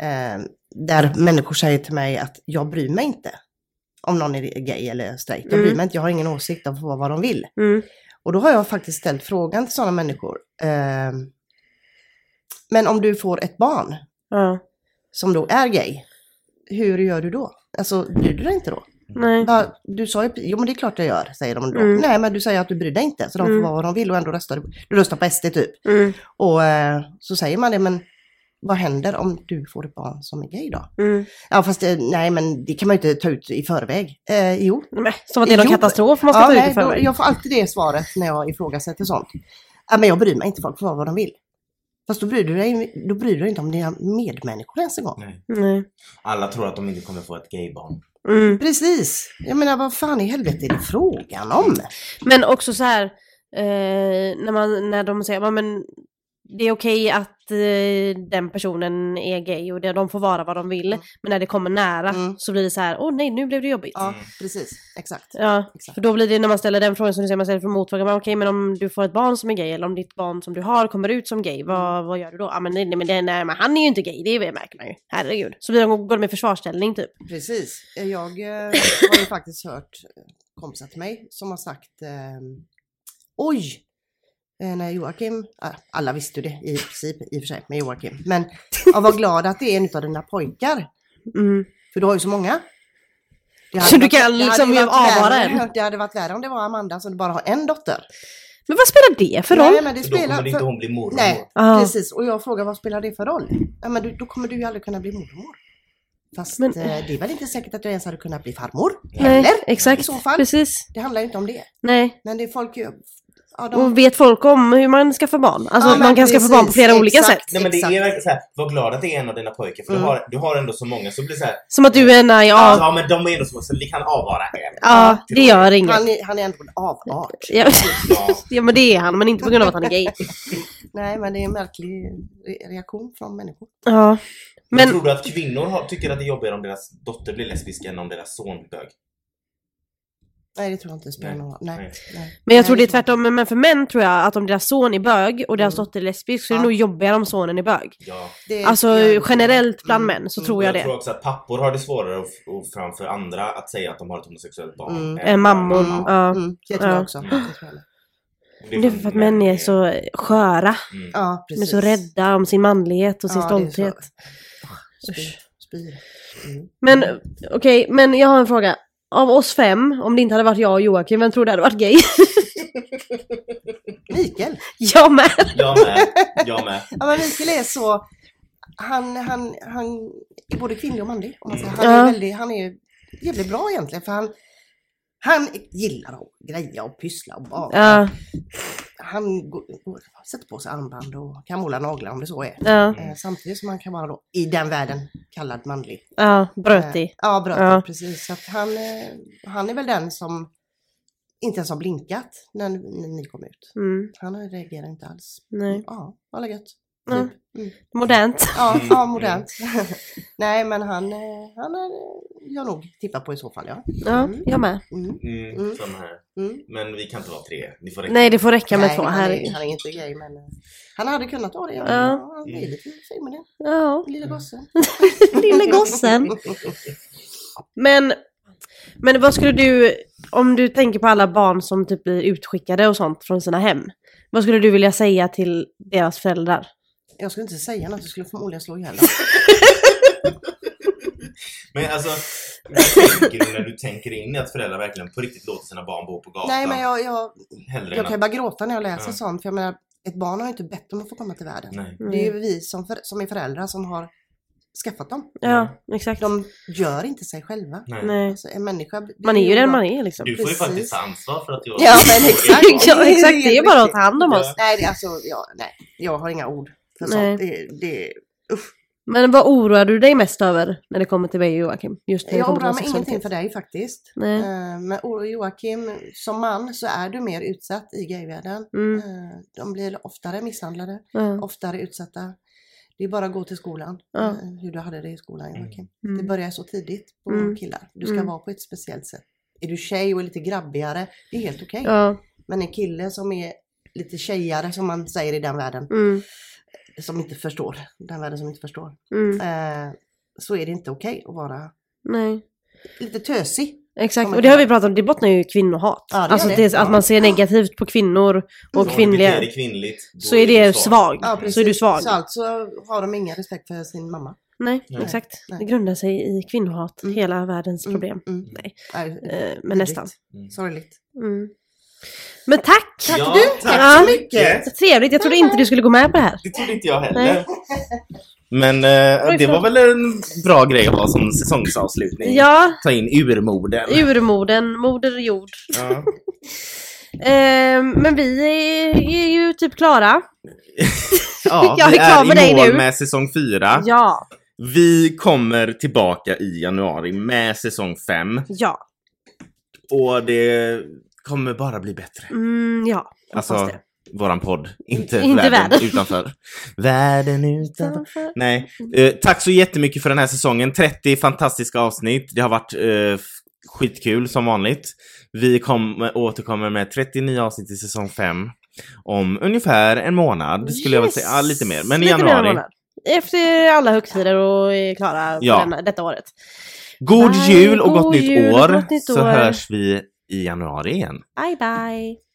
[SPEAKER 1] Eh, där människor säger till mig att jag bryr mig inte om någon är gay eller straight. Jag bryr
[SPEAKER 2] Mm.
[SPEAKER 1] mig inte, jag har ingen åsikt om vad vad de vill.
[SPEAKER 2] Mm.
[SPEAKER 1] Och då har jag faktiskt ställt frågan till sådana människor. Eh, men om du får ett barn
[SPEAKER 2] Ja.
[SPEAKER 1] som då är gay, hur gör du då? Alltså, bryr du dig inte då?
[SPEAKER 2] Nej.
[SPEAKER 1] Va, du sa ju, jo men det är klart jag gör, säger de då.
[SPEAKER 2] Mm.
[SPEAKER 1] Nej men du säger att du bryr dig inte, så de får
[SPEAKER 2] Mm.
[SPEAKER 1] vara vad de vill och ändå röstar du, du röstar på SD typ.
[SPEAKER 2] Mm.
[SPEAKER 1] Och eh, så säger man det, men vad händer om du får ett barn som är gay då?
[SPEAKER 2] Mm.
[SPEAKER 1] Ja fast eh, nej men det kan man ju inte ta ut i förväg. Eh, jo.
[SPEAKER 2] Nej, Som att det är någon
[SPEAKER 1] Jo.
[SPEAKER 2] katastrof man ska ta ut
[SPEAKER 1] nej,
[SPEAKER 2] i förväg.
[SPEAKER 1] då, jag får alltid det svaret när jag ifrågasätter sånt. Ja, men jag bryr mig inte, folk får vara vad de vill. Fast då bryr du dig, då bryr du dig inte om dina medmänniskor ens en gång.
[SPEAKER 3] Nej.
[SPEAKER 2] Nej.
[SPEAKER 3] Alla tror att de inte kommer få ett gaybarn.
[SPEAKER 2] Mm.
[SPEAKER 1] Precis, jag menar vad fan i helvete är det frågan om?
[SPEAKER 2] Men också så här, eh, när, man, när de säger "Ja, men det är okej att eh, den personen är gay och det, de får vara vad de vill.
[SPEAKER 1] Mm.
[SPEAKER 2] Men när det kommer nära
[SPEAKER 1] Mm.
[SPEAKER 2] så blir det så här, åh nej nu blev det jobbigt. Ja.
[SPEAKER 1] Ja, precis, exakt. Exakt.
[SPEAKER 2] för då blir det när man ställer den frågan som du säger, man ställer för motfrågan, men okej men om du får ett barn som är gay eller om ditt barn som du har kommer ut som gay,
[SPEAKER 1] Mm.
[SPEAKER 2] vad, vad gör du då? Ja men, nej, nej, men, det, nej, men han är ju inte gay, det märker man ju. Herregud. Så blir de, går de i försvarsställning typ.
[SPEAKER 1] Precis. Jag eh, har ju faktiskt hört eh, kompisar till mig som har sagt eh, Oj! Eh, när Joakim, ah, alla visste ju det i princip i och för sig med Joakim, men jag var glad att det är en av dina pojkar,
[SPEAKER 2] Mm.
[SPEAKER 1] för du har ju så många. Det hade
[SPEAKER 2] Så du
[SPEAKER 1] varit-
[SPEAKER 2] kan
[SPEAKER 1] det hade
[SPEAKER 2] liksom
[SPEAKER 1] ju varit
[SPEAKER 2] avvara
[SPEAKER 1] värre-
[SPEAKER 2] en.
[SPEAKER 1] Det hade varit värre om det var Amanda som bara har en dotter.
[SPEAKER 2] Men vad spelar det för
[SPEAKER 1] Nej,
[SPEAKER 2] roll?
[SPEAKER 1] men det
[SPEAKER 3] För då kommer
[SPEAKER 1] spelar,
[SPEAKER 3] inte
[SPEAKER 1] för,
[SPEAKER 3] hon bli mormor.
[SPEAKER 1] nej,
[SPEAKER 2] Ja.
[SPEAKER 1] precis. Och jag frågar vad spelar det för roll? Ja, men du, då kommer du ju aldrig kunna bli mormor. Fast
[SPEAKER 2] Men-
[SPEAKER 1] eh, det är väl inte säkert att jag ens hade kunnat bli farmor.
[SPEAKER 2] Nej,
[SPEAKER 1] Eller?
[SPEAKER 2] exakt.
[SPEAKER 1] I så fall.
[SPEAKER 2] Precis.
[SPEAKER 1] Det handlar ju inte om det.
[SPEAKER 2] Nej.
[SPEAKER 1] Men det är folk ju... Ja, de...
[SPEAKER 2] Och vet folk om hur man skaffar barn? Alltså
[SPEAKER 1] Ja,
[SPEAKER 2] att
[SPEAKER 1] men
[SPEAKER 2] man kan skaffa barn på
[SPEAKER 1] precis,
[SPEAKER 2] flera olika
[SPEAKER 1] exakt.
[SPEAKER 2] sätt.
[SPEAKER 3] Nej men det
[SPEAKER 1] Exakt.
[SPEAKER 3] är verkligen såhär, var glad att det är en av dina pojkar för
[SPEAKER 1] Mm.
[SPEAKER 3] du, har, du har ändå så många så blir det såhär,
[SPEAKER 2] Som att du är en,
[SPEAKER 3] ja.
[SPEAKER 2] ja,
[SPEAKER 3] ja men de är ändå så många så vi kan avvara en.
[SPEAKER 2] ja det gör inget.
[SPEAKER 1] han, är, han är ändå en avart.
[SPEAKER 2] Ja,
[SPEAKER 3] Ja.
[SPEAKER 2] ja men det är han, men inte på grund av att han är gay.
[SPEAKER 1] Nej, men det är en märklig re- reaktion från människor.
[SPEAKER 2] Ja.
[SPEAKER 3] Men
[SPEAKER 2] Men
[SPEAKER 3] tror du att kvinnor har, tycker att det är jobbigare om deras dotter blir lesbisk än om deras son blir bög?
[SPEAKER 1] Nej, det tror jag inte spelar
[SPEAKER 3] Nej.
[SPEAKER 1] någon roll. Nej.
[SPEAKER 3] Nej.
[SPEAKER 1] Nej.
[SPEAKER 2] Men jag tror det
[SPEAKER 1] Nej,
[SPEAKER 2] är tvärtom, men för män tror jag att om deras son är bög och deras
[SPEAKER 1] Mm.
[SPEAKER 2] dotter är lesbisk så är det
[SPEAKER 1] Ja.
[SPEAKER 2] nog jobbigare om sonen är bög.
[SPEAKER 3] Ja.
[SPEAKER 1] Det-
[SPEAKER 2] Alltså
[SPEAKER 1] jag-
[SPEAKER 2] generellt bland
[SPEAKER 1] Mm.
[SPEAKER 2] män så
[SPEAKER 1] Mm.
[SPEAKER 2] tror jag
[SPEAKER 3] Jag
[SPEAKER 2] det.
[SPEAKER 3] tror också att pappor har det svårare och, och framför andra att säga att de har ett homosexuellt barn.
[SPEAKER 1] Mm.
[SPEAKER 3] än
[SPEAKER 2] Äh, mammor,
[SPEAKER 1] Mm.
[SPEAKER 2] ja.
[SPEAKER 1] Mm. Det tror jag
[SPEAKER 2] Ja.
[SPEAKER 1] också.
[SPEAKER 3] Mm.
[SPEAKER 1] Det tror jag med.
[SPEAKER 3] Och
[SPEAKER 2] Det är för att män är så sköra,
[SPEAKER 3] Mm.
[SPEAKER 1] Ja,
[SPEAKER 2] de är
[SPEAKER 1] precis.
[SPEAKER 2] så rädda om sin manlighet och sin
[SPEAKER 1] Ja, det är så.
[SPEAKER 2] stolthet.
[SPEAKER 1] Spyr. Spyr. Mm.
[SPEAKER 2] Men okej, men jag har en fråga. Av oss fem, om det inte hade varit jag och Joakim, vem tror du hade varit gay?
[SPEAKER 1] Mikael.
[SPEAKER 2] jag med!
[SPEAKER 3] Jag med. Jag med.
[SPEAKER 1] Ja, men Mikael är så... Han, han, han är både kvinnlig och manlig. Om man säger. Han,
[SPEAKER 2] Ja.
[SPEAKER 1] är väldigt, han är jävligt bra egentligen. För han, han gillar att greja och pyssla och bara.
[SPEAKER 2] Ja,
[SPEAKER 1] Han går, går, sätter på sig armband och kan måla naglar om det så är.
[SPEAKER 2] ja,
[SPEAKER 1] Eh, Samtidigt som han kan vara då, i den världen kallad manlig.
[SPEAKER 2] ja,
[SPEAKER 1] Eh,
[SPEAKER 2] brötig.
[SPEAKER 1] Ja, brötig.
[SPEAKER 2] Ja.
[SPEAKER 1] Precis. Så att han, eh, han är väl den som inte ens har blinkat när, när ni kom ut.
[SPEAKER 2] Mm,
[SPEAKER 1] Han reagerar inte alls.
[SPEAKER 2] nej.
[SPEAKER 1] Ja, vad gött.
[SPEAKER 2] Ja.
[SPEAKER 1] Typ. Mm.
[SPEAKER 2] Modernt.
[SPEAKER 1] Ja,
[SPEAKER 3] Mm.
[SPEAKER 1] ja, modernt. Nej, men han, eh, han är jag nog tittar på i så fall, ja.
[SPEAKER 2] Ja,
[SPEAKER 1] Mm.
[SPEAKER 2] jag med.
[SPEAKER 1] Mm.
[SPEAKER 3] Mm,
[SPEAKER 1] Mm.
[SPEAKER 3] sån här.
[SPEAKER 1] Mm.
[SPEAKER 3] Men vi kan inte vara tre. Ni får räcka.
[SPEAKER 2] Nej, det får räcka med
[SPEAKER 1] Nej,
[SPEAKER 2] två.
[SPEAKER 1] han,
[SPEAKER 2] Här.
[SPEAKER 1] är, han är inte gay, men eh, han hade kunnat vara det. Ja.
[SPEAKER 2] Ja.
[SPEAKER 1] Ja, han är lite fin med det,
[SPEAKER 2] Ja,
[SPEAKER 1] lille gossen.
[SPEAKER 2] lille gossen. Men, men vad skulle du, om du tänker på alla barn som typ blir utskickade och sånt från sina hem. Vad skulle du vilja säga till deras föräldrar?
[SPEAKER 1] Jag skulle inte säga något, jag skulle förmodligen slå ihjäl
[SPEAKER 3] Men alltså, vad tänker du när du tänker in att föräldrar verkligen på riktigt låter sina barn bo på gatan?
[SPEAKER 1] Nej, men jag, jag,
[SPEAKER 3] Hellre
[SPEAKER 1] jag kan
[SPEAKER 3] än
[SPEAKER 1] ju
[SPEAKER 3] att...
[SPEAKER 1] bara gråta när jag läser
[SPEAKER 3] Ja.
[SPEAKER 1] sånt, för jag menar, ett barn har ju inte bett om att få komma till världen.
[SPEAKER 3] Nej.
[SPEAKER 1] Det
[SPEAKER 2] Mm.
[SPEAKER 1] är ju vi som, för, som är föräldrar som har skaffat dem.
[SPEAKER 2] Ja, exakt.
[SPEAKER 1] De gör inte sig själva.
[SPEAKER 3] Nej.
[SPEAKER 2] Nej.
[SPEAKER 1] Alltså, en människa blir
[SPEAKER 2] Man är ju den man
[SPEAKER 1] är.
[SPEAKER 2] är liksom.
[SPEAKER 3] Du får ju
[SPEAKER 1] Precis.
[SPEAKER 3] faktiskt ta ansvar för att jag...
[SPEAKER 1] Ja, men exakt.
[SPEAKER 2] ja, exakt, det är ju bara att ta hand om oss.
[SPEAKER 1] Nej, det, är alltså, jag, nej, jag har inga ord för
[SPEAKER 2] Nej.
[SPEAKER 1] sånt. Det, det,
[SPEAKER 2] Men vad oroar du dig mest över när det kommer till dig Joakim? Just när det
[SPEAKER 1] jag
[SPEAKER 2] kommer till
[SPEAKER 1] oroar
[SPEAKER 2] vår
[SPEAKER 1] mig ingenting
[SPEAKER 2] sexualitet?
[SPEAKER 1] för dig faktiskt.
[SPEAKER 2] Nej.
[SPEAKER 1] Eh, Men Oro Joakim, som man så är du mer utsatt i gayvärlden.
[SPEAKER 2] Mm.
[SPEAKER 1] Eh, De blir oftare misshandlade,
[SPEAKER 2] Ja.
[SPEAKER 1] oftare utsatta. Det är bara att gå till skolan,
[SPEAKER 2] Ja.
[SPEAKER 1] eh, hur du hade det i skolan Joakim. Det
[SPEAKER 2] Mm.
[SPEAKER 1] börjar så tidigt på
[SPEAKER 2] Mm.
[SPEAKER 1] killar. Du ska
[SPEAKER 2] Mm.
[SPEAKER 1] vara på ett speciellt sätt. Är du tjej och är lite grabbigare, det är helt okej.
[SPEAKER 2] Ja.
[SPEAKER 1] Men en kille som är lite tjejare som man säger i den världen,
[SPEAKER 2] Mm.
[SPEAKER 1] som inte förstår, den världen som inte förstår,
[SPEAKER 2] Mm.
[SPEAKER 1] eh, så är det inte okej att vara
[SPEAKER 2] Nej.
[SPEAKER 1] lite tösig.
[SPEAKER 2] Exakt,
[SPEAKER 1] Kommer
[SPEAKER 2] och det har
[SPEAKER 1] till-
[SPEAKER 2] vi pratat om, det bottnar ju i kvinnohat.
[SPEAKER 1] Ja, det gör
[SPEAKER 2] alltså
[SPEAKER 1] det.
[SPEAKER 2] det. är att man ser negativt på kvinnor och
[SPEAKER 3] Om
[SPEAKER 2] kvinnliga.
[SPEAKER 3] du beter dig kvinnligt, då
[SPEAKER 2] så är
[SPEAKER 3] du
[SPEAKER 2] det svag. så är du svag.
[SPEAKER 1] Så alltså har de ingen respekt för sin mamma.
[SPEAKER 2] Nej,
[SPEAKER 3] Nej.
[SPEAKER 2] exakt.
[SPEAKER 1] Nej.
[SPEAKER 2] Det grundar sig i kvinnohat,
[SPEAKER 1] Mm.
[SPEAKER 2] hela världens
[SPEAKER 1] Mm,
[SPEAKER 2] problem.
[SPEAKER 1] mm.
[SPEAKER 2] Nej.
[SPEAKER 1] Nej,
[SPEAKER 2] Eh, men
[SPEAKER 1] vidrigt.
[SPEAKER 2] nästan.
[SPEAKER 3] Mm.
[SPEAKER 1] Sorgligt.
[SPEAKER 2] Mm. Men tack!
[SPEAKER 3] Ja,
[SPEAKER 1] Tack du! Tack
[SPEAKER 2] Ja.
[SPEAKER 1] så mycket!
[SPEAKER 2] Så Trevligt, jag trodde inte du skulle gå med på det här.
[SPEAKER 3] Det trodde inte jag
[SPEAKER 2] Nej.
[SPEAKER 3] heller. Men eh,
[SPEAKER 2] Oj,
[SPEAKER 3] det
[SPEAKER 2] förlåt.
[SPEAKER 3] var väl en bra grej att ha som säsongsavslutning.
[SPEAKER 2] Ja,
[SPEAKER 3] Ta in urmodern.
[SPEAKER 2] urmoden, moder jord.
[SPEAKER 3] Ja.
[SPEAKER 2] Eh, men vi är, är ju typ klara.
[SPEAKER 3] Ja,
[SPEAKER 2] Jag
[SPEAKER 3] vi
[SPEAKER 2] är klar med
[SPEAKER 3] är
[SPEAKER 2] dig
[SPEAKER 3] i mål
[SPEAKER 2] nu.
[SPEAKER 3] med säsong 4.
[SPEAKER 2] Ja,
[SPEAKER 3] Vi kommer tillbaka i januari med säsong 5.
[SPEAKER 2] ja,
[SPEAKER 3] Och det kommer bara bli bättre.
[SPEAKER 2] mm, ja. hoppas
[SPEAKER 3] Alltså,
[SPEAKER 2] det.
[SPEAKER 3] våran podd. Inte,
[SPEAKER 2] Inte
[SPEAKER 3] världen,
[SPEAKER 2] världen.
[SPEAKER 3] utanför. världen utanför. Nej.
[SPEAKER 2] Mm.
[SPEAKER 3] Eh, tack så jättemycket för den här säsongen. 30 fantastiska avsnitt. Det har varit eh, f- skitkul som vanligt. Vi kommer återkommer med 30 nya avsnitt i säsong 5. Om ungefär en månad skulle jag vilja
[SPEAKER 2] Yes.
[SPEAKER 3] säga. Ja, lite mer. Men i
[SPEAKER 2] Lite mer än
[SPEAKER 3] januari.
[SPEAKER 2] månad. Efter alla högtider och är klara
[SPEAKER 3] Ja.
[SPEAKER 2] för denna, detta året.
[SPEAKER 3] God
[SPEAKER 2] Bye.
[SPEAKER 3] jul och
[SPEAKER 2] God
[SPEAKER 3] gott nytt
[SPEAKER 2] jul och
[SPEAKER 3] år.
[SPEAKER 2] gott nytt
[SPEAKER 3] så
[SPEAKER 2] år.
[SPEAKER 3] hörs vi i januari igen.
[SPEAKER 2] Bye bye!